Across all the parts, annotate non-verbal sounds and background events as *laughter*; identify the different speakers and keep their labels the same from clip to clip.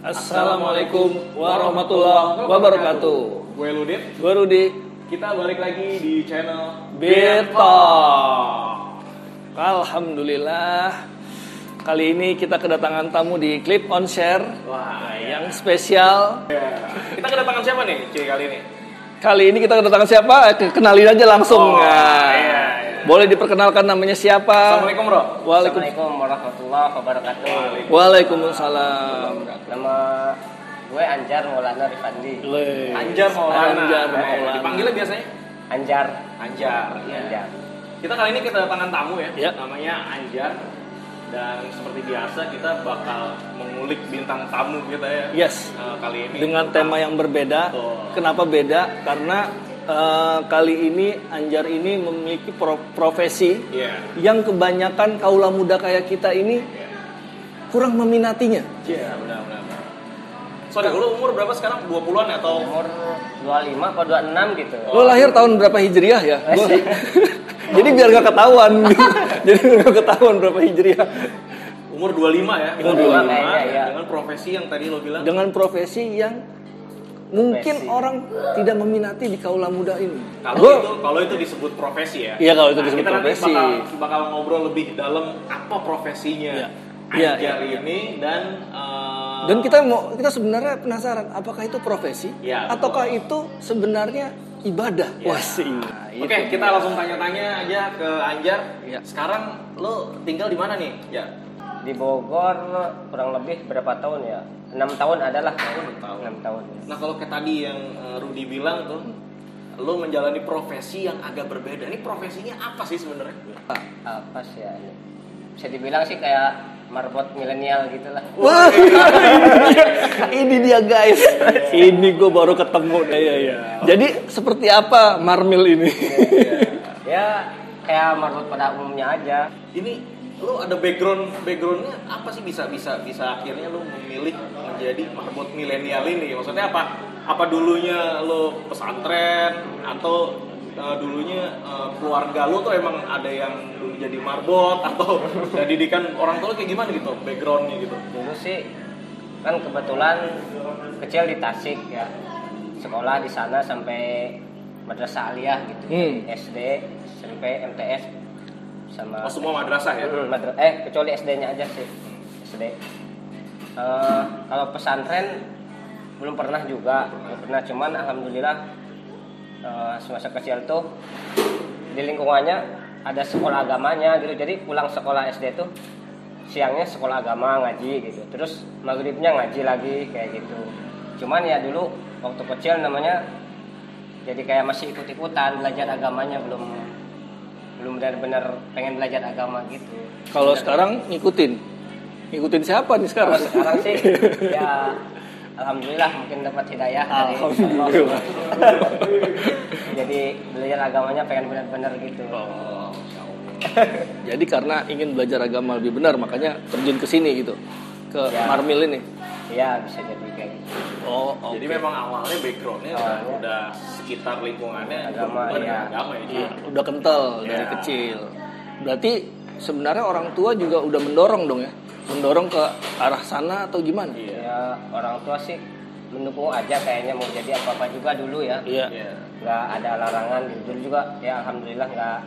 Speaker 1: Assalamualaikum warahmatullahi wabarakatuh.
Speaker 2: Gue Ludit,
Speaker 1: Gue Rudi.
Speaker 2: kita balik lagi di channel
Speaker 1: Beer Talk.
Speaker 2: Talk.
Speaker 1: Alhamdulillah. Kali ini kita kedatangan tamu di Clip on Share
Speaker 2: Wah, ya.
Speaker 1: yang spesial.
Speaker 2: Kita kedatangan siapa nih, cuy, kali ini?
Speaker 1: Eh, Kali ini kita kedatangan siapa? Eh, ke- Kenalin aja langsung.
Speaker 2: Oh,
Speaker 1: Nah,
Speaker 2: iya, iya.
Speaker 1: Boleh diperkenalkan namanya siapa?
Speaker 2: Assalamualaikum, bro.
Speaker 1: Waalaikum-
Speaker 3: Assalamualaikum warahmatullahi wabarakatuh.
Speaker 1: Waalaikumsalam.
Speaker 3: Nama gue Anjar Maulana Rifandi.
Speaker 1: Le-
Speaker 2: Anjar Maulana.
Speaker 1: Anjar
Speaker 2: Eh,
Speaker 1: Maulana. Iya.
Speaker 2: Dipanggilnya biasanya?
Speaker 3: Anjar,
Speaker 2: Anjar.
Speaker 3: Anjar.
Speaker 2: Kita kali ini kedatangan tamu ya,
Speaker 1: Ya.
Speaker 2: namanya Anjar. Dan seperti biasa kita bakal mengulik bintang tamu kita ya.
Speaker 1: Yes.
Speaker 2: Eh, kali ini
Speaker 1: Iya. dengan tema yang berbeda.
Speaker 2: Betul.
Speaker 1: Kenapa beda? Karena eh, kali ini Anjar ini memiliki pro- profesi
Speaker 2: Iya.
Speaker 1: yang kebanyakan kaula muda kayak kita ini
Speaker 2: Iya.
Speaker 1: kurang meminatinya.
Speaker 2: Iya, benar benar. benar. Sorry, lu umur berapa sekarang? 20-an atau
Speaker 3: Umur 25 atau 26 gitu.
Speaker 1: Lo lahir tahun berapa hijriah ya? Gua- *laughs* Jadi biar gak
Speaker 2: *laughs*
Speaker 1: ketahuan. Jadi biar gak ketahuan berapa hijriah.
Speaker 2: umur 25 ya?
Speaker 1: Umur
Speaker 3: 25,
Speaker 1: iya,
Speaker 3: kayaknya, ya.
Speaker 2: Dengan profesi yang tadi lo bilang.
Speaker 1: Dengan profesi yang mungkin
Speaker 3: Profesi.
Speaker 1: orang tidak meminati di kaula muda ini.
Speaker 2: Kalau
Speaker 1: Gua-
Speaker 2: itu kalau itu disebut profesi ya.
Speaker 1: Iya, kalau itu disebut
Speaker 2: kita
Speaker 1: profesi.
Speaker 2: Nanti bakal, bakal ngobrol lebih dalam apa profesinya
Speaker 1: Iya. Iya,
Speaker 2: Anjar ini dan eh,
Speaker 1: Dan kita mau kita sebenarnya penasaran apakah itu profesi
Speaker 2: Ya,
Speaker 1: ataukah itu sebenarnya ibadah?
Speaker 2: Ya.
Speaker 1: Wah, sih.
Speaker 2: Oke, kita langsung tanya-tanya aja ke Anjar.
Speaker 1: Iya.
Speaker 2: Sekarang lo tinggal di mana nih? Ya.
Speaker 3: Di Bogor kurang lebih berapa tahun ya? 6 tahun adalah.
Speaker 2: Enam tahun.
Speaker 3: 6 tahun.
Speaker 2: Nah, kalau kayak tadi yang eh, Rudy bilang tuh, lo menjalani profesi yang agak berbeda. Ini profesinya apa sih sebenarnya?
Speaker 3: Apa sih ya? ini? Bisa dibilang sih kayak marbot milenial gitu lah.
Speaker 1: Wah, ini dia guys. Iya. ini gue baru ketemu. Iya, iya, iya. Jadi seperti apa Marmil ini?
Speaker 2: Iya.
Speaker 3: Ya kayak marbot pada umumnya aja.
Speaker 2: Ini lo ada background backgroundnya apa sih bisa bisa bisa akhirnya lo memilih menjadi marbot milenial ini? Maksudnya apa? Apa dulunya lo pesantren atau eh, dulunya eh, keluarga lo tuh emang ada yang dulu jadi marbot *laughs* atau ya, didikan orang tua lo kayak gimana gitu backgroundnya gitu?
Speaker 3: dulu sih kan kebetulan kecil di Tasik ya sekolah di sana sampai madrasah aliyah gitu
Speaker 1: Hmm.
Speaker 3: SD SMP MTS sama
Speaker 2: Oh, semua madrasah ya?
Speaker 3: Hmm, madra- eh kecuali SD-nya aja sih SD Eh, kalau pesantren belum pernah juga belum pernah cuman alhamdulillah eh, semasa kecil tuh di lingkungannya ada sekolah agamanya gitu jadi pulang sekolah SD tuh siangnya sekolah agama ngaji gitu terus maghribnya ngaji lagi kayak gitu cuman ya dulu waktu kecil namanya jadi kayak masih ikut-ikutan belajar agamanya belum belum benar-benar pengen belajar agama gitu
Speaker 1: Kalau
Speaker 3: Bener.
Speaker 1: sekarang ngikutin. Ngikutin siapa nih sekarang?
Speaker 3: Kalau sekarang
Speaker 1: *laughs*
Speaker 3: sih ya alhamdulillah mungkin dapat hidayah dari Allah.
Speaker 1: Alhamdulillah.
Speaker 3: jadi belajar agamanya pengen benar-benar gitu
Speaker 2: Oh, Masya Allah.
Speaker 1: Jadi karena ingin belajar agama lebih benar, makanya terjun ke sini gitu. Ke
Speaker 3: Ya.
Speaker 1: Marmil ini.
Speaker 3: ya bisa jadi kayak gitu
Speaker 1: Oh,
Speaker 2: Jadi memang awalnya backgroundnya udah,
Speaker 3: Awalnya.
Speaker 2: udah sekitar lingkungannya
Speaker 3: Agama,
Speaker 2: berhubungan dengan
Speaker 3: iya.
Speaker 2: agama ya.
Speaker 1: Iya, udah kental dari
Speaker 2: Iya.
Speaker 1: kecil. Berarti sebenarnya orang tua juga udah mendorong dong ya, mendorong ke arah sana atau gimana?
Speaker 2: Iya.
Speaker 3: ya orang tua sih mendukung aja kayaknya mau jadi apa apa juga dulu ya
Speaker 1: Iya.
Speaker 2: Iya.
Speaker 3: nggak ada larangan gitu dulu juga ya alhamdulillah nggak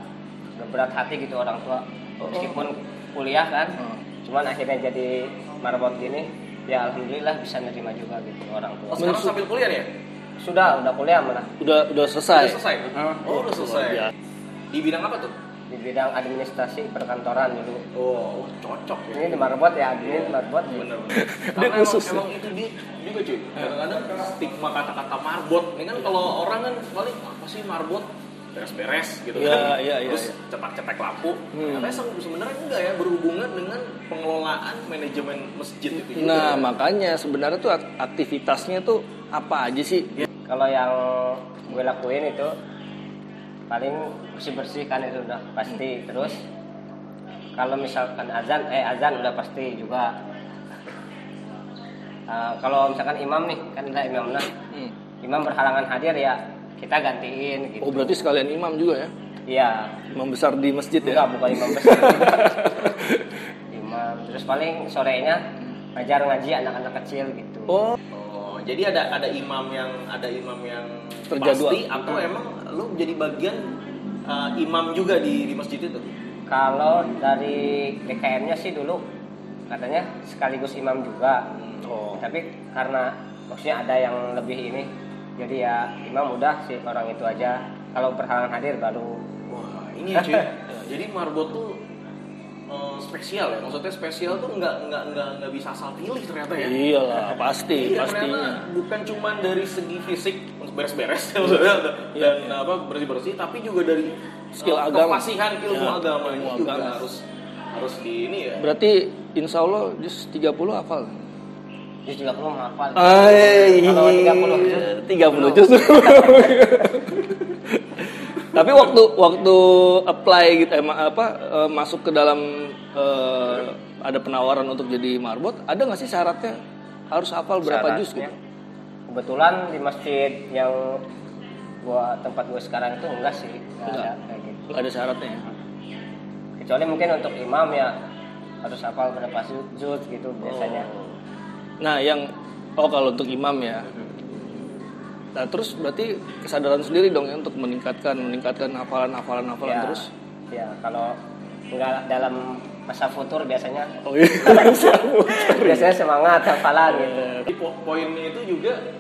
Speaker 3: nggak berat hati gitu orang tua meskipun kuliah kan
Speaker 1: Hmm.
Speaker 3: cuman akhirnya jadi marbot gini ya alhamdulillah bisa nerima juga gitu orang
Speaker 2: Oh,
Speaker 3: tua
Speaker 2: sekarang sambil kuliah nih ya?
Speaker 3: sudah udah kuliah malah
Speaker 1: Udah udah
Speaker 2: Udah
Speaker 1: selesai.
Speaker 2: selesai? Oh, udah selesai.
Speaker 1: Iya.
Speaker 2: Di bidang apa tuh?
Speaker 3: di bidang administrasi perkantoran dulu
Speaker 2: Oh, cocok ya.
Speaker 3: ini di marbot ya admin marbot
Speaker 1: *laughs* Dia
Speaker 2: Bener-bener. Karena
Speaker 1: khusus ya? Eh.
Speaker 2: emang, emang itu dia juga cuy. Kadang-kadang stigma kata-kata marbot. Ini kan kalau orang kan paling apa sih marbot? beres-beres gitu
Speaker 1: Iya,
Speaker 2: kan.
Speaker 1: iya, iya,
Speaker 2: Terus
Speaker 1: iya.
Speaker 2: cetak-cetak lampu.
Speaker 1: Hmm.
Speaker 2: Tapi sebenarnya enggak ya berhubungan dengan pengelolaan manajemen masjid itu juga.
Speaker 1: Nah makanya sebenarnya tuh ak- aktivitasnya tuh apa aja sih?
Speaker 2: Iya.
Speaker 3: kalau yang gue lakuin itu paling bersih bersih kan itu udah pasti terus kalau misalkan azan eh azan udah pasti juga Eh, kalau misalkan imam nih kan ada imam nah
Speaker 1: Hmm.
Speaker 3: imam berhalangan hadir ya kita gantiin gitu
Speaker 1: Oh berarti sekalian imam juga ya?
Speaker 3: iya
Speaker 1: Imam besar di *laughs* masjid ya?
Speaker 3: enggak bukan imam besar imam terus paling sorenya ngajar ngaji anak-anak kecil gitu.
Speaker 1: Oh,
Speaker 2: Oh, jadi ada ada imam yang ada imam yang
Speaker 1: Terjadwal. Hmm.
Speaker 2: pasti atau emang lu jadi bagian uh, imam juga di di masjid itu?
Speaker 3: Kalau dari DKM-nya sih dulu katanya sekaligus imam juga.
Speaker 2: Oh.
Speaker 3: Tapi karena maksudnya ada yang lebih ini, jadi ya imam udah sih orang itu aja. Kalau berhalangan hadir baru
Speaker 2: Wah, ini ya,
Speaker 1: *laughs*
Speaker 2: cuy. Ya, jadi marbot tuh uh, spesial ya. Maksudnya spesial tuh nggak nggak nggak nggak bisa asal pilih ternyata ya.
Speaker 1: iyalah, pasti,
Speaker 2: Iya,
Speaker 1: Iya, pastinya.
Speaker 2: ternyata bukan cuman dari segi fisik untuk beres-beres *laughs* maksudnya dan apa bersih-bersih tapi juga dari
Speaker 1: Iya. Skill
Speaker 2: eh,
Speaker 1: agama.
Speaker 2: kefasihan ilmu
Speaker 1: Ya,
Speaker 2: agama
Speaker 1: ilmu
Speaker 2: ini juga
Speaker 1: agama.
Speaker 2: harus harus di ini ya
Speaker 1: Berarti insya Allah jus 30 hafal.
Speaker 3: jus 30 menghafal.
Speaker 1: Ay,
Speaker 3: Kalau 30 jus.
Speaker 1: 30 jus. *laughs* Tapi waktu waktu apply gitu emang apa eh, masuk ke dalam eh, ada penawaran untuk jadi marbot, ada nggak sih syaratnya harus hafal berapa jus
Speaker 3: Syaratnya.
Speaker 1: gitu?
Speaker 3: Kebetulan di masjid yang gua tempat gua sekarang itu enggak sih, enggak,
Speaker 1: Enggak.
Speaker 3: ada kayak gitu.
Speaker 1: Nggak ada syaratnya. ya?
Speaker 3: Kecuali mungkin untuk imam ya harus hafal berapa ju- juz gitu biasanya.
Speaker 1: Nah, yang oh kalau untuk imam ya. Nah, terus berarti kesadaran sendiri dong ya untuk meningkatkan meningkatkan hafalan hafalan hafalan
Speaker 3: ya,
Speaker 1: terus.
Speaker 3: *laughs* ya kalau enggak dalam masa futur biasanya
Speaker 1: Oh iya.
Speaker 3: biasanya semangat hafalan gitu.
Speaker 2: Jadi po- poinnya itu juga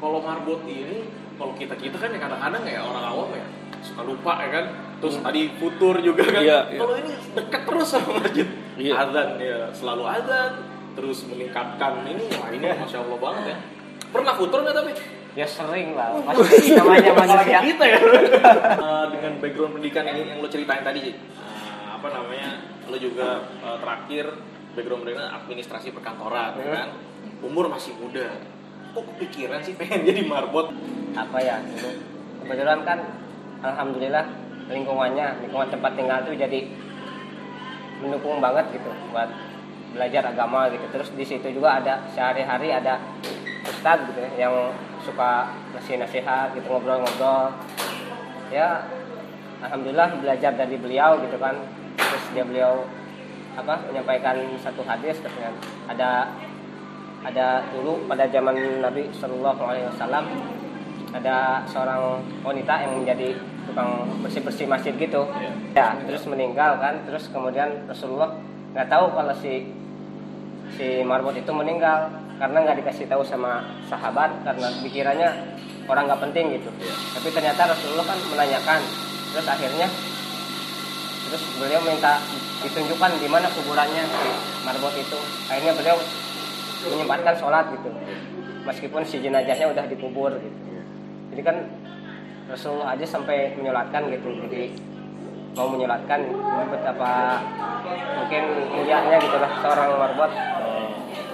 Speaker 2: kalau marbot ini kalau kita kita kan ya kadang-kadang ya orang awam ya suka lupa ya kan terus tadi futur juga kan
Speaker 1: Hmm. Iya, iya.
Speaker 2: kalau ini dekat terus sama masjid
Speaker 1: Iya.
Speaker 2: azan ya selalu azan terus meningkatkan ini wah
Speaker 1: *laughs*
Speaker 2: ini masya allah banget ya pernah futur nggak tapi
Speaker 3: Ya sering lah,
Speaker 1: Oh, *laughs*
Speaker 3: pasti namanya manusia.
Speaker 2: Apalagi kita ya Eh, dengan background pendidikan yang, yang lo ceritain tadi sih apa namanya lo juga eh, terakhir background pendidikan administrasi perkantoran ya kan umur masih muda kok kepikiran sih pengen jadi marbot
Speaker 3: apa ya dulu kebetulan kan alhamdulillah lingkungannya lingkungan tempat tinggal tuh jadi mendukung banget gitu buat belajar agama gitu terus di situ juga ada sehari-hari ada ustadz gitu ya, yang suka ngasih nasihat gitu ngobrol-ngobrol ya alhamdulillah belajar dari beliau gitu kan terus dia beliau apa menyampaikan satu hadis katanya ada ada dulu pada zaman Nabi Shallallahu Alaihi Wasallam ada seorang wanita yang menjadi tukang bersih bersih masjid gitu ya terus meninggal kan terus kemudian Rasulullah nggak tahu kalau si si marbot itu meninggal karena nggak dikasih tahu sama sahabat karena pikirannya orang nggak penting gitu tapi ternyata Rasulullah kan menanyakan terus akhirnya terus beliau minta ditunjukkan di mana kuburannya si marbot itu akhirnya beliau menyempatkan sholat gitu meskipun si jenazahnya udah dikubur gitu jadi kan Rasulullah aja sampai menyolatkan gitu jadi mau menyolatkan betapa mungkin mulianya gitu lah seorang marbot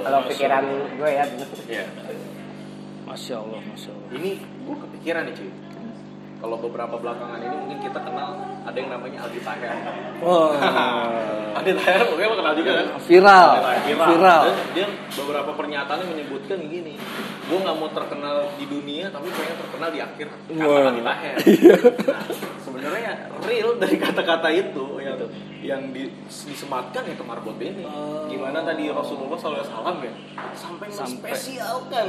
Speaker 3: kalau pikiran gue ya dulu.
Speaker 1: Masya Allah, masya Allah.
Speaker 2: ini gue kepikiran nih cuy kalau beberapa belakangan ini mungkin kita kenal ada yang namanya Aldi Taher
Speaker 1: Iya.
Speaker 3: *laughs*
Speaker 1: Wah,
Speaker 2: Aldi Taher mungkin lo kenal juga kan
Speaker 1: viral,
Speaker 2: viral.
Speaker 1: viral.
Speaker 2: Dan dia beberapa pernyataannya menyebutkan gini, gue nggak mau terkenal di dunia tapi pengen terkenal di akhirat.
Speaker 1: Wah.
Speaker 2: Kata-kata
Speaker 1: *laughs*
Speaker 2: lahir. Nah, sebenarnya real dari kata-kata itu yang yang di- disematkan ya ke marbot ini.
Speaker 1: Gitu. Oh.
Speaker 2: Gimana tadi Rasulullah SAW ya sampai,
Speaker 1: Sampai. Hmm.
Speaker 2: menspesialkan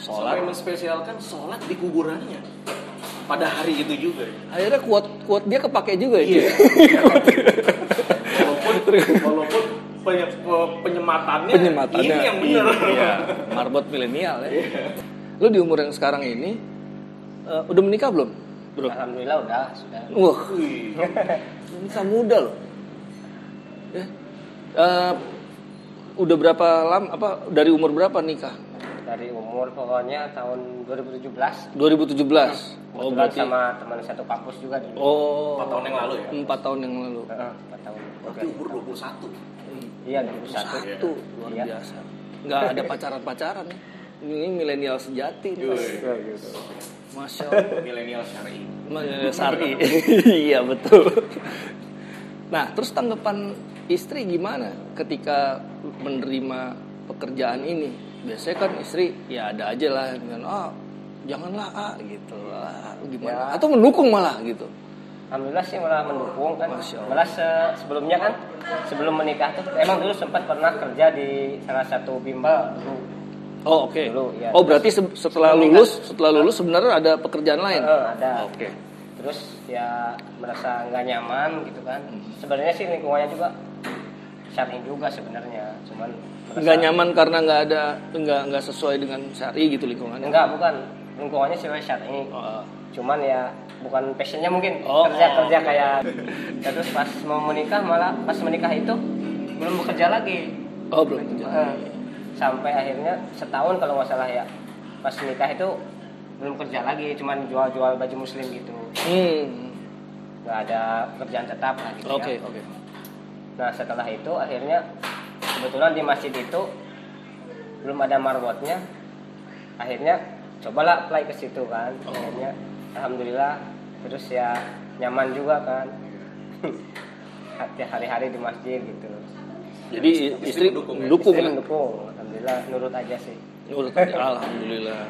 Speaker 1: Sholat.
Speaker 2: *laughs* sampai menspesialkan sholat di kuburannya pada hari itu
Speaker 1: *laughs*
Speaker 2: juga. ya.
Speaker 1: Akhirnya kuat kuat dia kepake juga ya.
Speaker 2: Iya. walaupun walaupun penye- pe- penyematannya,
Speaker 1: Penyematannya.
Speaker 2: ini yang benar.
Speaker 1: Iya. *laughs*
Speaker 2: *laughs*
Speaker 1: Marbot milenial ya. Lu di umur yang sekarang ini eh, udah menikah belum, bro?
Speaker 3: alhamdulillah udah sudah
Speaker 1: Wah,
Speaker 2: Wih.
Speaker 1: menikah muda loh. Ya. Eh, udah berapa lama? Apa dari umur berapa nikah?
Speaker 3: dari umur pokoknya tahun 2017
Speaker 1: 2017. Oh
Speaker 3: kebetulan
Speaker 1: berarti.
Speaker 3: sama teman satu kampus juga dulu
Speaker 1: Oh. Iya.
Speaker 2: Empat tahun yang lalu ya?
Speaker 1: Empat tahun yang lalu.
Speaker 3: Heeh, empat tahun
Speaker 2: Berarti umur 21.
Speaker 3: iya 2001
Speaker 1: Satu luar
Speaker 3: Iya.
Speaker 1: biasa. Nggak ada pacaran-pacaran ya. Ini milenial sejati nih. Mas. gitu. Masya Allah.
Speaker 2: Milenial syar'i.
Speaker 1: Milenial Sari. *laughs* iya betul. Nah, terus tanggapan istri gimana ketika menerima pekerjaan ini? Biasanya kan istri ya ada aja lah "Ah,
Speaker 3: Ya.
Speaker 1: dengan ah janganlah ah gitu lah gimana atau mendukung malah gitu.
Speaker 3: alhamdulillah sih malah mendukung kan
Speaker 1: Masya Allah.
Speaker 3: malah se- sebelumnya kan sebelum menikah tuh emang dulu sempat pernah kerja di salah satu bimbel dulu
Speaker 1: Oh oke.
Speaker 3: Dulu, iya. kan-
Speaker 1: Oh berarti se- setelah
Speaker 3: Sebelum
Speaker 1: lulus, setelah lulus sebenarnya ada pekerjaan lain. Oh,
Speaker 3: Eh, ada
Speaker 1: Oke.
Speaker 3: terus ya merasa nggak nyaman gitu kan sebenarnya sih lingkungannya juga syar'i juga sebenarnya cuman merasa-
Speaker 1: Nggak nyaman karena nggak ada nggak nggak sesuai dengan syari gitu lingkungannya.
Speaker 3: enggak bukan lingkungannya sih syar'i
Speaker 1: Oh,
Speaker 3: cuman ya bukan passionnya mungkin
Speaker 1: Oh.
Speaker 3: kerja kerja kayak Ya, terus pas mau menikah malah pas menikah itu belum bekerja lagi
Speaker 1: oh belum.
Speaker 3: Eh, sampai akhirnya setahun kalau nggak salah ya pas nikah itu belum kerja lagi cuman jual-jual baju muslim gitu
Speaker 1: Hmm.
Speaker 3: nggak ada pekerjaan tetap lah gitu
Speaker 1: Oke
Speaker 3: ya.
Speaker 1: oke.
Speaker 3: nah setelah itu akhirnya kebetulan di masjid itu belum ada marbotnya akhirnya cobalah apply ke situ kan akhirnya alhamdulillah terus ya nyaman juga kan *laughs* Hati- hari-hari di masjid gitu
Speaker 1: Jadi i- istri
Speaker 2: mendukung ya?
Speaker 1: dukung.
Speaker 3: Istri mendukung alhamdulillah nurut aja sih
Speaker 1: Nurut aja. Alhamdulillah.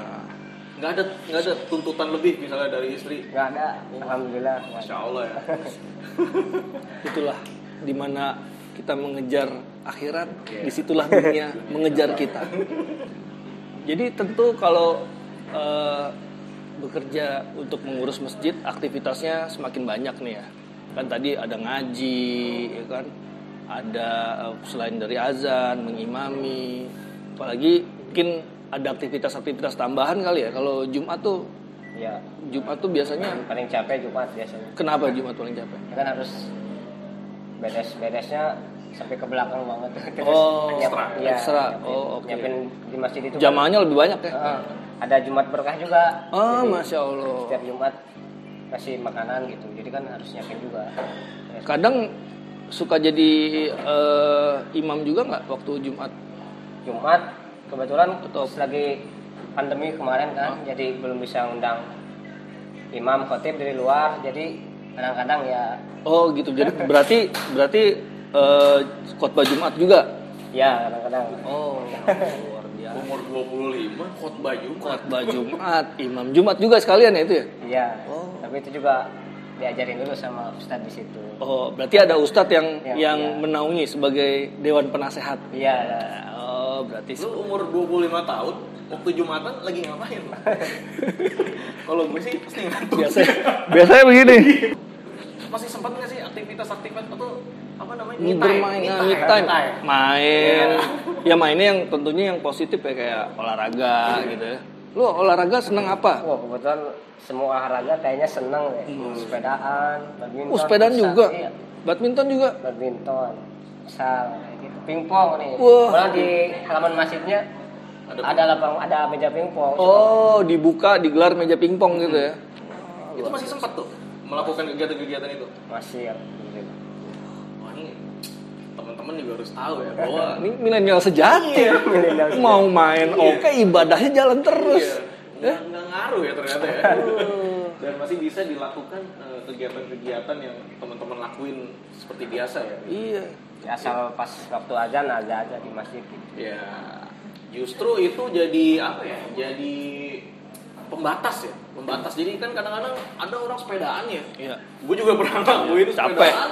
Speaker 2: nggak ada nggak ada tuntutan lebih misalnya dari istri
Speaker 3: nggak ada alhamdulillah nggak ada.
Speaker 2: masya allah ya
Speaker 1: Itulah dimana kita mengejar akhirat, disitulah dunia mengejar kita. Jadi tentu kalau eh, bekerja untuk mengurus masjid, aktivitasnya semakin banyak nih ya. Kan tadi ada ngaji, ya kan, ada eh, selain dari azan, mengimami, apalagi mungkin ada aktivitas-aktivitas tambahan kali ya. Kalau Jumat tuh,
Speaker 3: ya
Speaker 1: Jumat tuh biasanya
Speaker 3: paling capek jumat biasanya
Speaker 1: kenapa Jumat paling capek?
Speaker 3: Ya kan harus beres-beresnya sampai ke belakang banget terus
Speaker 1: Oh,
Speaker 3: *laughs* nyiap-
Speaker 2: extra,
Speaker 3: iya,
Speaker 1: extra.
Speaker 3: nyiapin-
Speaker 1: Oh, oke.
Speaker 3: nyiapin di masjid itu
Speaker 1: Jamaahnya lebih banyak ya?
Speaker 3: Heeh. ada jumat berkah juga
Speaker 1: Ah,
Speaker 3: Jadi,
Speaker 1: masya Allah.
Speaker 3: setiap jumat kasih makanan gitu jadi kan harus nyiapin juga Beres.
Speaker 1: Kadang suka jadi eh, imam juga nggak waktu Jumat?
Speaker 3: jumat kebetulan
Speaker 1: Betul. Oh.
Speaker 3: terus lagi pandemi kemarin kan jadi belum bisa undang imam khotib dari luar jadi kadang-kadang ya
Speaker 1: Oh gitu. *laughs* Jadi berarti berarti eh, khotbah Jumat juga.
Speaker 3: ya kadang-kadang
Speaker 1: Oh luar biasa.
Speaker 2: umur 25 khotbah Jumat
Speaker 1: Khotbah Jumat, imam Jumat juga sekalian ya itu ya?
Speaker 3: iya
Speaker 1: Oh.
Speaker 3: tapi itu juga diajarin dulu sama ustadz di situ
Speaker 1: Oh berarti ada ustadz yang
Speaker 3: Ya,
Speaker 1: yang
Speaker 3: iya.
Speaker 1: menaungi sebagai dewan penasehat.
Speaker 3: Iya,
Speaker 1: Oh berarti
Speaker 2: lu umur 25 tahun waktu Jumatan lagi ngapain lu? kalau gue sih pasti ngantuk
Speaker 1: biasanya biasanya begini. *laughs*
Speaker 2: masih sempat nggak sih aktivitas-aktivitas atau apa namanya
Speaker 1: Ini bermain ah, me time. main ya mainnya yang tentunya yang positif ya kayak olahraga gitu ya. Lu olahraga seneng apa?
Speaker 3: Wah kebetulan semua olahraga kayaknya seneng ya. Sepedaan, badminton.
Speaker 1: Hmm. Oh, sepedaan
Speaker 3: futsal,
Speaker 1: juga.
Speaker 3: Iya,
Speaker 1: Badminton juga.
Speaker 3: badminton, futsal, kayak gitu. Pingpong nih.
Speaker 1: Wah.
Speaker 3: Malah di halaman masjidnya
Speaker 2: Ada
Speaker 3: ada, lapang, ada meja pingpong.
Speaker 1: Oh, dibuka, digelar meja pingpong gitu ya.
Speaker 2: itu masih sempat tuh melakukan kegiatan-kegiatan itu
Speaker 3: Masih ya. gitu.
Speaker 2: wah ini teman-teman juga harus tahu ya bahwa
Speaker 1: Ini milenial Iya, sejati. Iya.
Speaker 3: milenial sejati.
Speaker 1: Mau main oke ibadahnya jalan terus.
Speaker 2: Iya, nggak nggak ngaruh ya ternyata ya dan masih bisa dilakukan eh, kegiatan-kegiatan yang teman-teman lakuin seperti biasa ya
Speaker 1: Iya.
Speaker 3: Ya, asal pas waktu azan ada aja di masjid gitu.
Speaker 2: ya justru itu jadi apa ya jadi pembatas ya pembatas jadi kan kadang-kadang ada orang sepedaan ya
Speaker 1: Iya.
Speaker 2: gue juga pernah ngelakuin
Speaker 1: Capek.
Speaker 2: sepedaan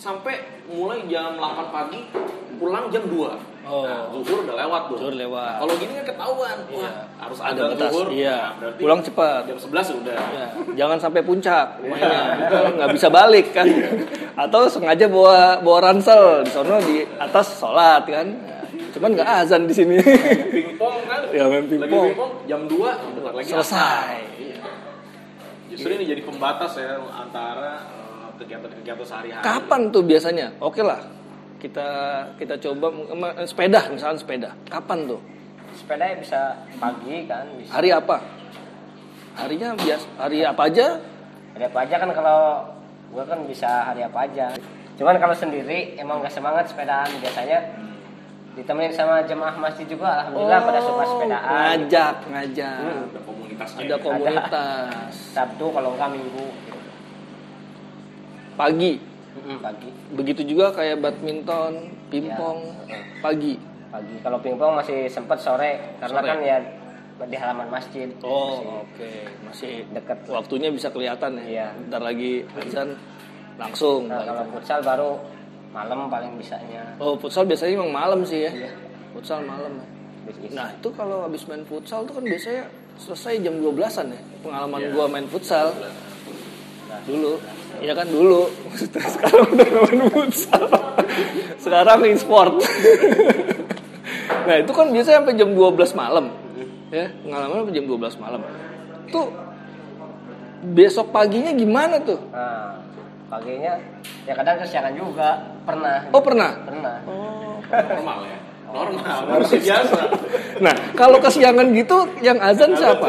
Speaker 2: sampai mulai jam 8 pagi pulang jam 2
Speaker 1: Oh.
Speaker 2: Nah, zuhur udah lewat tuh.
Speaker 1: Zuhur lewat.
Speaker 2: Kalau gini kan ketahuan. Wah,
Speaker 1: Iya.
Speaker 2: harus
Speaker 1: Ada
Speaker 2: ada
Speaker 1: batas,
Speaker 2: zuhur.
Speaker 1: iya.
Speaker 2: Nah, berarti
Speaker 1: Pulang cepat.
Speaker 2: Jam 11 udah.
Speaker 1: Ya, jangan sampai puncak mainnya. nggak bisa balik kan. Atau sengaja bawa bawa ransel di sono di atas sholat kan. Ya, Cuman nggak azan di sini.
Speaker 2: Pingpong kan?
Speaker 1: Ya, main pingpong.
Speaker 2: Lagi pingpong jam 2 bentar lagi
Speaker 1: Selesai.
Speaker 2: asar. Iya. Justru ini jadi pembatas ya antara eh, kegiatan-kegiatan sehari-hari.
Speaker 1: Kapan tuh biasanya? Oke lah. Kita kita coba eh, sepeda misalnya sepeda. Kapan tuh?
Speaker 3: Sepeda bisa pagi kan, bisa.
Speaker 1: Hari apa? Harinya bias hari apa aja?
Speaker 3: Hari apa aja kan kalau gue kan bisa hari apa aja. Cuman kalau sendiri emang gak semangat sepedaan biasanya ditemenin sama jemaah masjid juga alhamdulillah pada suka sepedaan.
Speaker 1: Ngajak, ngajak.
Speaker 2: Ada komunitasnya.
Speaker 1: Ada
Speaker 2: ya.
Speaker 1: komunitas.
Speaker 3: Sabtu kalau enggak minggu gitu.
Speaker 1: Pagi.
Speaker 3: pagi
Speaker 1: Begitu juga kayak badminton, pingpong,
Speaker 3: Iya.
Speaker 1: pagi.
Speaker 3: pagi kalau pingpong masih sempat sore karena
Speaker 1: Sore.
Speaker 3: kan ya di halaman masjid
Speaker 1: Oh, oke. Masih
Speaker 3: Deket.
Speaker 1: Waktunya bisa kelihatan ya.
Speaker 3: Iya.
Speaker 1: Bentar lagi azan langsung.
Speaker 3: nah, kalau futsal baru malam paling bisanya
Speaker 1: Oh, futsal biasanya emang malam sih ya.
Speaker 3: Iya.
Speaker 1: Futsal malam. ya.
Speaker 3: Bis- bis.
Speaker 1: Nah, itu kalau habis main futsal tuh kan biasanya selesai jam 12-an ya. Pengalaman
Speaker 2: Iya.
Speaker 1: gua main futsal. Dulu. Iya kan dulu. Maksudnya sekarang udah nggak main futsal. sekarang e-sport. *laughs* nah, itu kan biasanya sampai jam 12 malam. Ya, pengalaman sampai jam 12 malam. Tuh besok paginya gimana tuh?
Speaker 3: nah paginya ya kadang kesiangan juga pernah
Speaker 1: Oh, pernah.
Speaker 3: pernah
Speaker 2: normal ya normal manusia biasa
Speaker 1: Nah, kalau kesiangan gitu yang azan siapa?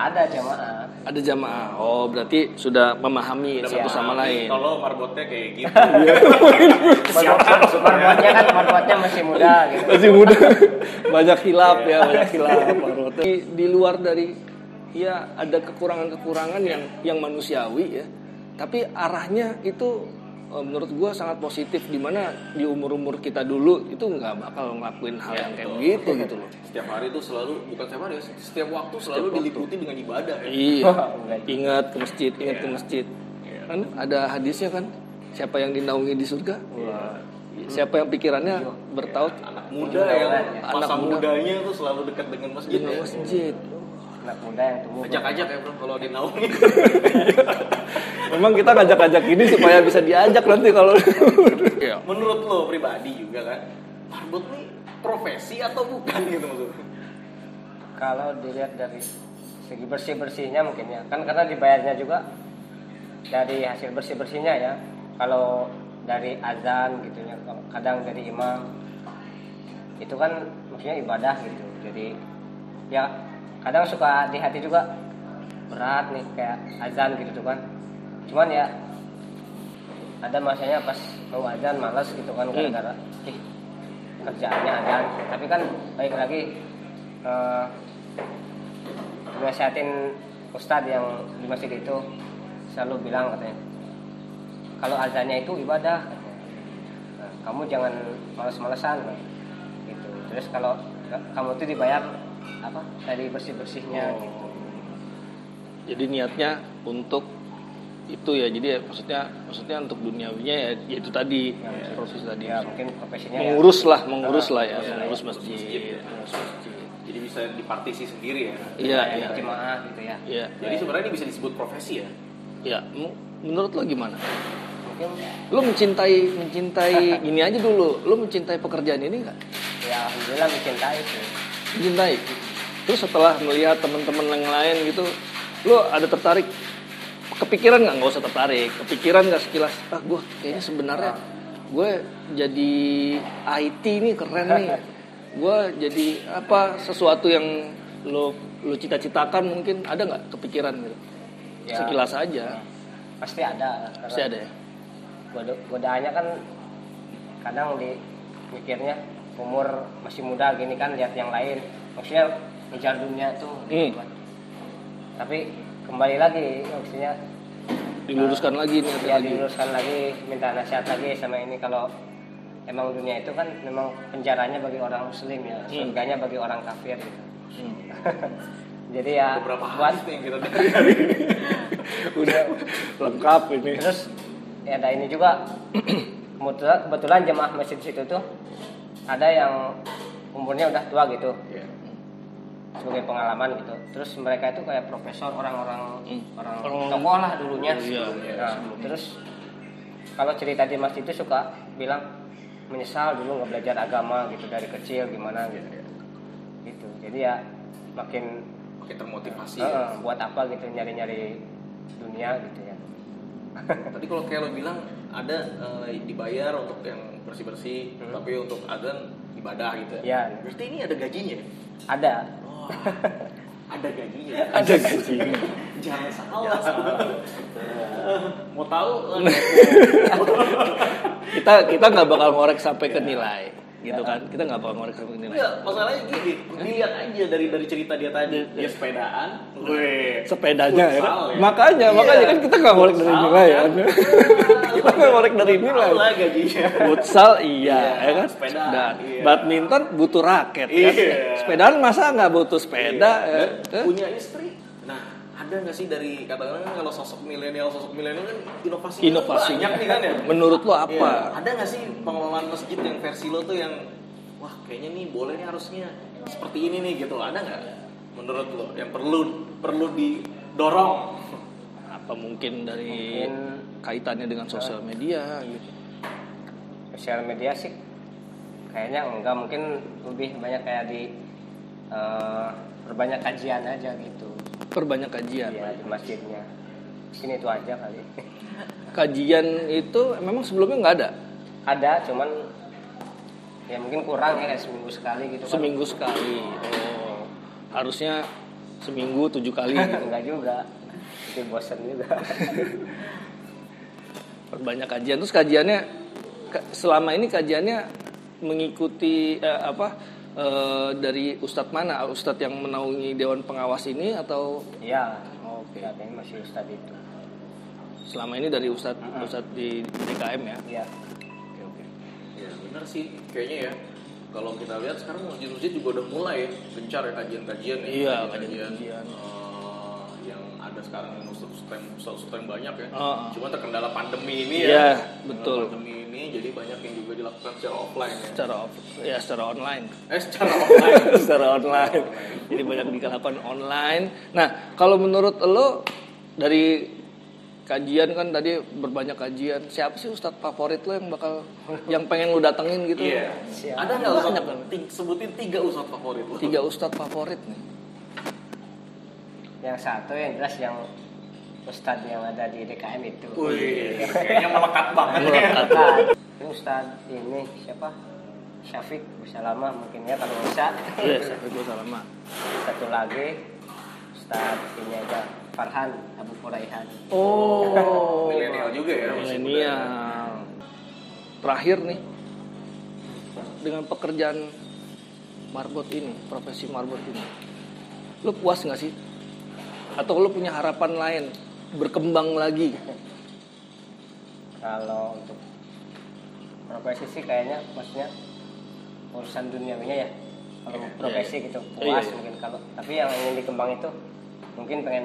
Speaker 3: ada jamaah
Speaker 1: Ada jamaah. Oh, berarti sudah memahami satu sama lain.
Speaker 2: Iya. kalau marbotnya kayak gitu
Speaker 1: Iya.
Speaker 3: Marbotnya kan marbotnya masih muda gitu
Speaker 1: *laughs* Masih muda. banyak hilap ya, banyak
Speaker 2: Iya.
Speaker 1: hilap. Marwata. Di, di luar dari ya ada kekurangan-kekurangan yang yang manusiawi ya. Tapi arahnya itu eh, menurut gua sangat positif dimana di umur-umur kita dulu itu nggak bakal ngelakuin
Speaker 2: Iya,
Speaker 1: hal yang kayak begitu gitu loh.
Speaker 2: setiap hari itu selalu bukan setiap hari ya, setiap waktu selalu diliputi dengan ibadah ya.
Speaker 1: Iya. Ingat ke masjid, ingat ke masjid. Kan ada hadisnya kan, siapa yang dinaungi di surga? Siapa yang pikirannya bertaut
Speaker 2: anak muda yang masa
Speaker 1: Anak muda. Iya.
Speaker 2: mudanya tuh selalu dekat dengan masjid
Speaker 1: dengan
Speaker 2: ya.
Speaker 1: masjid?
Speaker 3: anak muda yang tumbuh
Speaker 2: ajak-ajak ya bro kalau di
Speaker 1: *laughs*
Speaker 2: naungi
Speaker 1: Memang kita ngajak-ngajak ini supaya bisa diajak nanti kalau Iya.
Speaker 2: menurut lo pribadi juga kan marbot nih profesi atau bukan gitu maksudnya
Speaker 3: kalau dilihat dari segi bersih bersihnya mungkin ya kan karena dibayarnya juga dari hasil bersih bersihnya ya kalau dari azan gitu ya kadang dari imam itu kan maksudnya ibadah gitu jadi ya kadang suka di hati juga berat nih kayak azan gitu tuh kan cuman ya ada masanya pas mau azan malas gitu kan
Speaker 1: Hmm.
Speaker 3: gara-gara ih, kerjaannya azan tapi kan baik lagi eh nasihatin ustadz yang di masjid itu selalu bilang katanya kalau azannya itu ibadah katanya. Nah, kamu jangan malas-malasan gitu terus kalau ka- kamu itu dibayar apa dari bersih bersihnya gitu
Speaker 1: Jadi niatnya untuk itu ya. Jadi ya, maksudnya maksudnya untuk duniawinya ya ya itu tadi proses tadi.
Speaker 3: ya mungkin profesinya ya.
Speaker 1: Mengurus lah, mengurus lah ya, mengurus masjid. Mengurus masjid.
Speaker 2: jadi bisa dipartisi sendiri ya
Speaker 1: Iya,
Speaker 3: Kayak
Speaker 1: iya.
Speaker 3: jemaah gitu ya
Speaker 1: Iya.
Speaker 2: jadi sebenarnya ini bisa disebut profesi ya
Speaker 1: Ya, mu- menurut lo gimana?
Speaker 3: mungkin
Speaker 1: Lo mencintai mencintai ini aja dulu. Lo mencintai pekerjaan ini nggak?
Speaker 3: ya alhamdulillah gitu. mencintai sih
Speaker 1: Mencintai. Terus setelah melihat teman-teman yang lain gitu, lo ada tertarik? Kepikiran nggak? Nggak usah tertarik. Kepikiran nggak sekilas? Ah, gue kayaknya sebenarnya gue jadi IT nih keren
Speaker 3: *laughs*
Speaker 1: nih. Gue jadi apa? Sesuatu yang lo lo cita-citakan mungkin ada nggak kepikiran gitu?
Speaker 3: Ya.
Speaker 1: Sekilas aja,
Speaker 3: pasti ada karena
Speaker 1: pasti ada ya.
Speaker 3: goda- godaannya kan kadang di mikirnya umur masih muda gini kan lihat yang lain maksudnya ngejar dunia tuh
Speaker 1: Hmm.
Speaker 3: gitu kan. tapi kembali lagi maksudnya
Speaker 1: Diluruskan lagi nih.
Speaker 3: ya diluruskan lagi minta nasihat lagi sama ini kalau emang dunia itu kan memang penjaranya bagi orang muslim ya surganya bagi orang kafir gitu. *laughs*
Speaker 1: Hmm.
Speaker 3: jadi ya
Speaker 2: beberapa hal
Speaker 3: buat
Speaker 2: yang kita *laughs*
Speaker 1: udah lengkap ini
Speaker 3: terus ya ada ini juga *clears throat* kebetulan, kebetulan jemaah masjid situ tuh ada yang umurnya udah tua gitu
Speaker 2: Iya.
Speaker 3: sebagai pengalaman gitu terus mereka itu kayak profesor orang-orang
Speaker 1: Hmm.
Speaker 3: orang
Speaker 1: Orang-
Speaker 3: tokoh lah dulunya
Speaker 1: Oh, iya, iya,
Speaker 3: Nah,
Speaker 1: sebelumnya.
Speaker 3: terus kalau cerita di masjid itu suka bilang menyesal dulu nggak belajar agama gitu dari kecil gimana gitu gitu jadi ya makin
Speaker 2: makin termotivasi
Speaker 1: Iya.
Speaker 3: eh,
Speaker 2: ya.
Speaker 3: buat apa gitu nyari-nyari dunia gitu ya
Speaker 2: tadi kalau kayak lo bilang ada eh, dibayar untuk yang bersih bersih
Speaker 3: Hmm.
Speaker 2: tapi untuk adan ibadah gitu
Speaker 3: Iya.
Speaker 2: berarti ini ada gajinya ya?
Speaker 3: ada
Speaker 2: Wah, ada gajinya
Speaker 1: ada gaji
Speaker 2: *laughs* jangan salah mau eh, tahu eh,
Speaker 1: kita kita nggak bakal ngorek sampai ke nilai gitu kan kita nggak bakal ngorek seperti nilai
Speaker 2: Enggak, masalahnya gini, dilihat aja dari dari cerita dia tadi, dia sepedaan, gue
Speaker 1: sepedanya ya kan?
Speaker 2: futsal ya.
Speaker 1: makanya
Speaker 2: Iya.
Speaker 1: makanya kan kita nggak ngorek dari
Speaker 2: Futsal,
Speaker 1: nilai ya
Speaker 2: kan?
Speaker 1: *laughs* kita nggak ngorek dari nilai
Speaker 2: Tahu lah gajinya.
Speaker 1: futsal iya
Speaker 2: Iya,
Speaker 1: ya kan
Speaker 2: sepedaan,
Speaker 1: sepedaan
Speaker 2: iya.
Speaker 1: badminton butuh raket kan
Speaker 2: Iya.
Speaker 1: sepedaan masa nggak butuh sepeda
Speaker 2: Iya.
Speaker 1: ya?
Speaker 2: Dan
Speaker 1: Eh?
Speaker 2: punya istri. Nah, ada nggak sih dari kadang-kadang kan kalau sosok milenial sosok milenial kan inovasinya
Speaker 1: Inovasinya.
Speaker 2: banyak nih kan ya.
Speaker 1: menurut lo
Speaker 2: Iya.
Speaker 1: apa
Speaker 2: Ada nggak sih pengelolaan masjid yang versi lo tuh yang wah kayaknya nih boleh nih harusnya seperti ini nih gitu. Ada nggak menurut lo yang perlu perlu didorong?
Speaker 1: apa mungkin dari
Speaker 3: Mungkin-
Speaker 1: kaitannya dengan sosial media gitu
Speaker 3: sosial media sih kayaknya enggak mungkin lebih banyak kayak di eh, perbanyak kajian aja gitu
Speaker 1: perbanyak kajian
Speaker 3: ya di masjidnya sini itu aja kali *laughs*
Speaker 1: kajian itu memang sebelumnya nggak ada
Speaker 3: ada cuman ya mungkin kurang ya kayak seminggu sekali gitu kan
Speaker 1: seminggu sekali oh harusnya seminggu tujuh kali
Speaker 3: *laughs*
Speaker 1: gitu.
Speaker 3: enggak juga itu bosen juga *laughs*
Speaker 1: perbanyak kajian terus kajiannya ke- selama ini kajiannya mengikuti eh, apa eh, dari ustadz mana ustadz yang menaungi dewan pengawas ini atau
Speaker 3: ya
Speaker 1: Oke.
Speaker 3: katanya masih ustadz itu
Speaker 1: selama ini dari ustadz ustadz di DKM ya
Speaker 3: ya
Speaker 1: oke oke
Speaker 2: Ya bener sih kayaknya ya. Kalau kita lihat sekarang masjid-masjid juga udah mulai ya gencar ya kajian-kajian ya.
Speaker 1: Iya, kajian-kajian.
Speaker 2: eh, yang ada sekarang ustaz-ustaz ustaz-ustaz yang banyak ya.
Speaker 1: Oh.
Speaker 2: Cuma terkendala pandemi
Speaker 1: Iya,
Speaker 2: ini ya.
Speaker 1: betul.
Speaker 2: Terkendala Pandemi ini jadi banyak yang juga dilakukan secara offline ya.
Speaker 1: secara off- ya secara online *laughs*
Speaker 2: Eh secara online.
Speaker 1: secara online jadi banyak dilakukan online nah kalau menurut lo dari kajian kan tadi berbanyak kajian siapa sih ustadz favorit lo yang bakal yang pengen lo datengin *laughs* gitu
Speaker 2: Iya.
Speaker 3: Siap.
Speaker 2: Ada nggak ustaz? ti- Sebutin tiga ustaz favorit lo.
Speaker 1: tiga ustadz favorit nih
Speaker 3: yang satu yang jelas yang ustadz yang ada di DKM itu
Speaker 2: Wih, kayaknya melekat banget ya.
Speaker 1: Melekat.
Speaker 3: Ustadz. Ini Ustadz ini siapa? Syafiq bisa lama mungkin ya kalau bisa.
Speaker 1: Iya, Syafiq Salama.
Speaker 3: Satu lagi Ustadz ini aja Farhan Abu Furaihan.
Speaker 1: Oh,
Speaker 2: Milenial juga ya. masih muda.
Speaker 1: milenial. Terakhir nih, dengan pekerjaan marbot ini, profesi marbot ini, lo puas nggak sih? Atau lo punya harapan lain, berkembang lagi?
Speaker 3: Kalau untuk profesi sih kayaknya maksudnya urusan duniawinya ya. Kalau profesi gitu
Speaker 1: Iya,
Speaker 3: puas
Speaker 1: iya.
Speaker 3: mungkin kalau tapi yang ingin dikembang itu mungkin pengen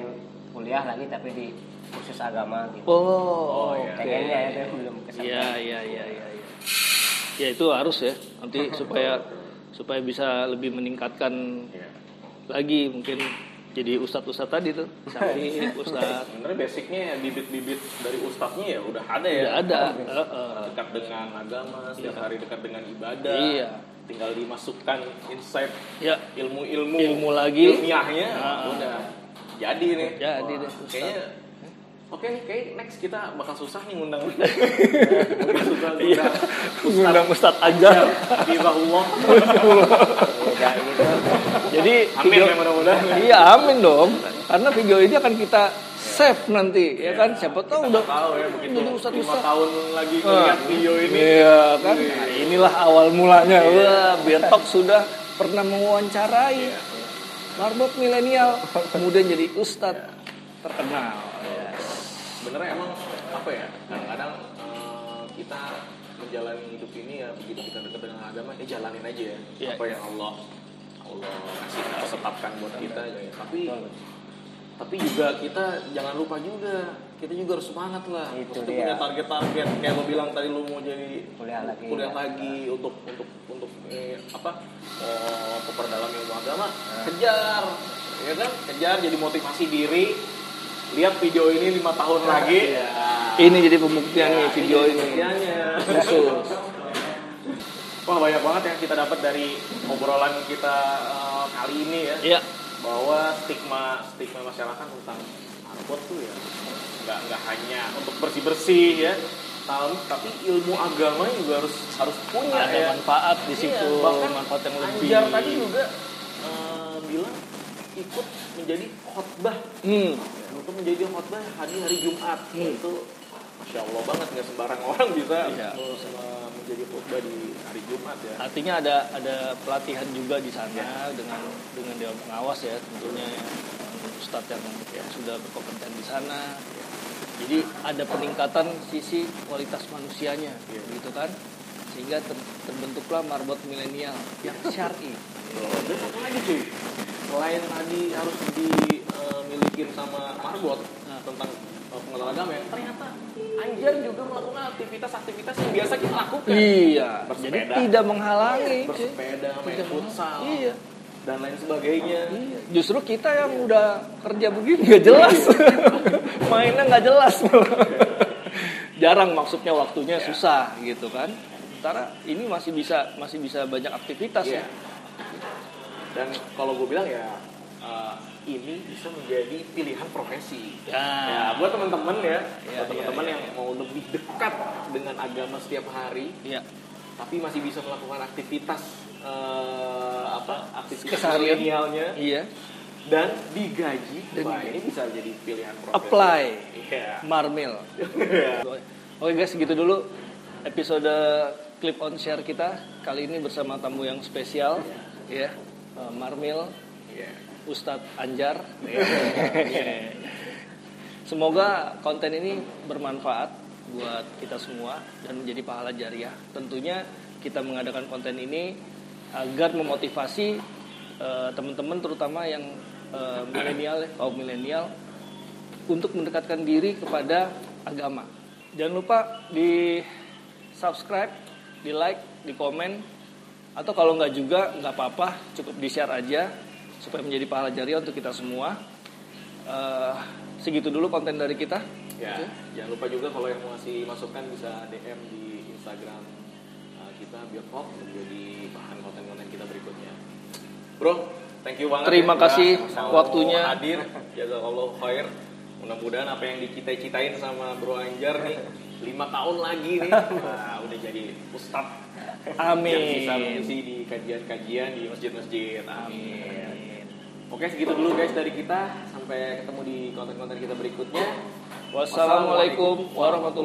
Speaker 3: kuliah lagi tapi di khusus agama gitu.
Speaker 1: Oh,
Speaker 2: iya.
Speaker 1: oke.
Speaker 3: Pengennya ya tapi belum
Speaker 1: Iya,
Speaker 3: kesempatan.
Speaker 1: iya, iya, iya. iya. Ya itu harus ya, nanti supaya supaya bisa lebih meningkatkan
Speaker 2: Iya.
Speaker 1: lagi mungkin jadi ustadz-ustadz tadi tuh,
Speaker 2: *laughs*
Speaker 1: Syafiq, ustadz
Speaker 2: Sebenarnya basicnya ya, bibit-bibit dari ustaznya ya udah ada ya.
Speaker 1: Tidak ada. Eh,
Speaker 2: dekat dengan agama, setiap hari dekat dengan ibadah.
Speaker 1: Iya.
Speaker 2: Tinggal dimasukkan insight
Speaker 1: Ya,
Speaker 2: ilmu-ilmu
Speaker 1: Ilmu lagi.
Speaker 2: ilmiahnya
Speaker 1: Ah.
Speaker 2: udah jadi nih.
Speaker 1: Jadi deh, Ustaz.
Speaker 2: Kayaknya Oke nih, kayak next kita bakal susah nih
Speaker 1: *laughs*
Speaker 2: ngundang. Bakal susah
Speaker 1: Iya.
Speaker 2: ngundang.
Speaker 1: ngundang Ustadz aja.
Speaker 2: Hafizahullah.
Speaker 3: Ya, gitu.
Speaker 1: Jadi
Speaker 2: Amin ya mudah-mudahan.
Speaker 1: iya amin dong. Karena video ini akan kita save nanti, ya kan? Siapa tahu udah
Speaker 2: Iya, Tahu ya begitu.
Speaker 1: Jadi Iya, Ustaz-
Speaker 2: lima
Speaker 1: Ustaz. Ah.
Speaker 2: tahun lagi ngeliat video ini.
Speaker 1: Iya kan? Nah, inilah awal mulanya.
Speaker 2: Iya.
Speaker 1: Wah, Birtok sudah pernah
Speaker 2: Iya.
Speaker 1: mewawancarai marbot
Speaker 2: *laughs*
Speaker 1: milenial, kemudian jadi ustadz terkenal.
Speaker 2: sebenarnya emang apa ya kadang-kadang eh, kita menjalani hidup ini ya begitu kita dekat dengan agama ya jalanin aja ya
Speaker 1: Iya.
Speaker 2: apa yang Allah Allah kasih tetapkan buat kita ya. tapi
Speaker 3: Iya.
Speaker 2: tapi juga kita jangan lupa juga kita juga harus semangat lah
Speaker 3: Itu
Speaker 2: Maksudnya
Speaker 3: dia.
Speaker 2: punya target-target kayak lo bilang tadi lo mau jadi
Speaker 3: Kuliah lagi.
Speaker 2: kuliah lagi untuk untuk untuk eh, apa eh, memperdalam ilmu agama
Speaker 3: Nah.
Speaker 2: kejar ya kan kejar jadi motivasi diri lihat video ini lima tahun
Speaker 3: Nah,
Speaker 2: lagi
Speaker 3: iya.
Speaker 1: Ini jadi pembuktian nih video
Speaker 2: Iya,
Speaker 1: ini. Khusus.
Speaker 2: Wah banyak banget yang kita dapat dari obrolan kita eh, kali ini ya
Speaker 1: Iya,
Speaker 2: bahwa stigma stigma masyarakat tentang marbot tuh ya nggak nggak hanya untuk bersih bersih ya tapi, tapi ilmu agama juga harus harus punya
Speaker 1: ada
Speaker 2: ya
Speaker 1: manfaat di situ,
Speaker 2: Iya, bahkan
Speaker 1: manfaat yang lebih.
Speaker 2: Anjar tadi juga eh, bilang ikut menjadi khotbah
Speaker 1: Hmm,
Speaker 2: untuk menjadi khotbah hari hari Jumat itu Insya Allah banget nggak sembarang orang bisa
Speaker 1: Iya.
Speaker 2: eh, sama menjadi khotbah di hari Jumat ya.
Speaker 1: Artinya ada ada pelatihan juga di sana dengan dengan dewan pengawas ya tentunya ya. Ustadz yang ya, sudah berkompeten di sana. Jadi ada peningkatan sisi kualitas manusianya,
Speaker 2: Iya.
Speaker 1: gitu kan? Sehingga ter- terbentuklah marbot milenial yang syar'i.
Speaker 2: Loh, Dan satu lagi cuy, selain tadi harus dimilikin sama marbot
Speaker 1: Nah.
Speaker 2: tentang eh, pengetahuan agama ya, ternyata anjir juga melakukan aktivitas-aktivitas yang biasa kita lakukan.
Speaker 1: Iya.
Speaker 2: Bersepeda.
Speaker 1: Jadi tidak menghalangi. cuy.
Speaker 2: Bersepeda, main
Speaker 1: Tidak
Speaker 2: futsal,
Speaker 1: menghalangi. Iya.
Speaker 2: dan lain sebagainya.
Speaker 1: Iya, Justru kita yang udah kerja begini nggak jelas, *laughs* mainnya nggak jelas. Jarang maksudnya waktunya susah gitu kan. Sementara ini masih bisa masih bisa banyak aktivitas
Speaker 2: Iya.
Speaker 1: ya.
Speaker 2: Dan kalau gue bilang ya, eh, ini bisa menjadi pilihan profesi.
Speaker 1: Ya.
Speaker 2: Ya, buat teman-teman ya,
Speaker 1: Iya,
Speaker 2: buat teman-teman
Speaker 1: iya,
Speaker 2: yang mau lebih dekat dengan agama setiap hari,
Speaker 1: Iya.
Speaker 2: tapi masih bisa melakukan aktivitas eh, apa aktivitas
Speaker 1: Keseharian.
Speaker 2: milenialnya
Speaker 1: Iya.
Speaker 2: dan digaji.
Speaker 1: Dan
Speaker 2: Wah,
Speaker 1: digaji.
Speaker 2: ini bisa jadi pilihan profesi.
Speaker 1: Apply.
Speaker 2: Iya.
Speaker 1: Marmel. Oke guys, segitu dulu episode clip on share kita kali ini bersama tamu yang spesial ya. Eh, Marmil
Speaker 2: Iya.
Speaker 1: Ustadz Anjar. Iya. Semoga konten ini bermanfaat buat kita semua dan menjadi pahala jariah. Tentunya kita mengadakan konten ini agar memotivasi eh, teman-teman terutama yang eh, milenial ya, kaum milenial untuk mendekatkan diri kepada agama. Jangan lupa di subscribe, di like, di komen, atau kalau nggak juga nggak apa-apa, cukup di share aja supaya menjadi pahala jariah untuk kita semua. Eh, segitu dulu konten dari kita.
Speaker 2: Ya,
Speaker 1: Oke.
Speaker 2: jangan lupa juga kalau yang mau ngasih masukan bisa DM di Instagram uh, kita Biokop menjadi bahan konten-konten kita berikutnya. Bro, thank you banget.
Speaker 1: Terima
Speaker 2: ya,
Speaker 1: kasih
Speaker 2: udah mau
Speaker 1: waktunya.
Speaker 2: Hadir, jazakallahu khair. Mudah-mudahan apa yang dicita-citain sama Bro Anjar nih lima tahun lagi
Speaker 1: *laughs*
Speaker 2: nih, nah, udah jadi ustadz yang bisa
Speaker 1: Amin.
Speaker 2: mengisi di kajian-kajian di masjid-masjid. Amin. Oke, segitu dulu guys dari kita. Sampai ketemu di konten-konten kita berikutnya.
Speaker 1: Wassalamualaikum warahmatullahi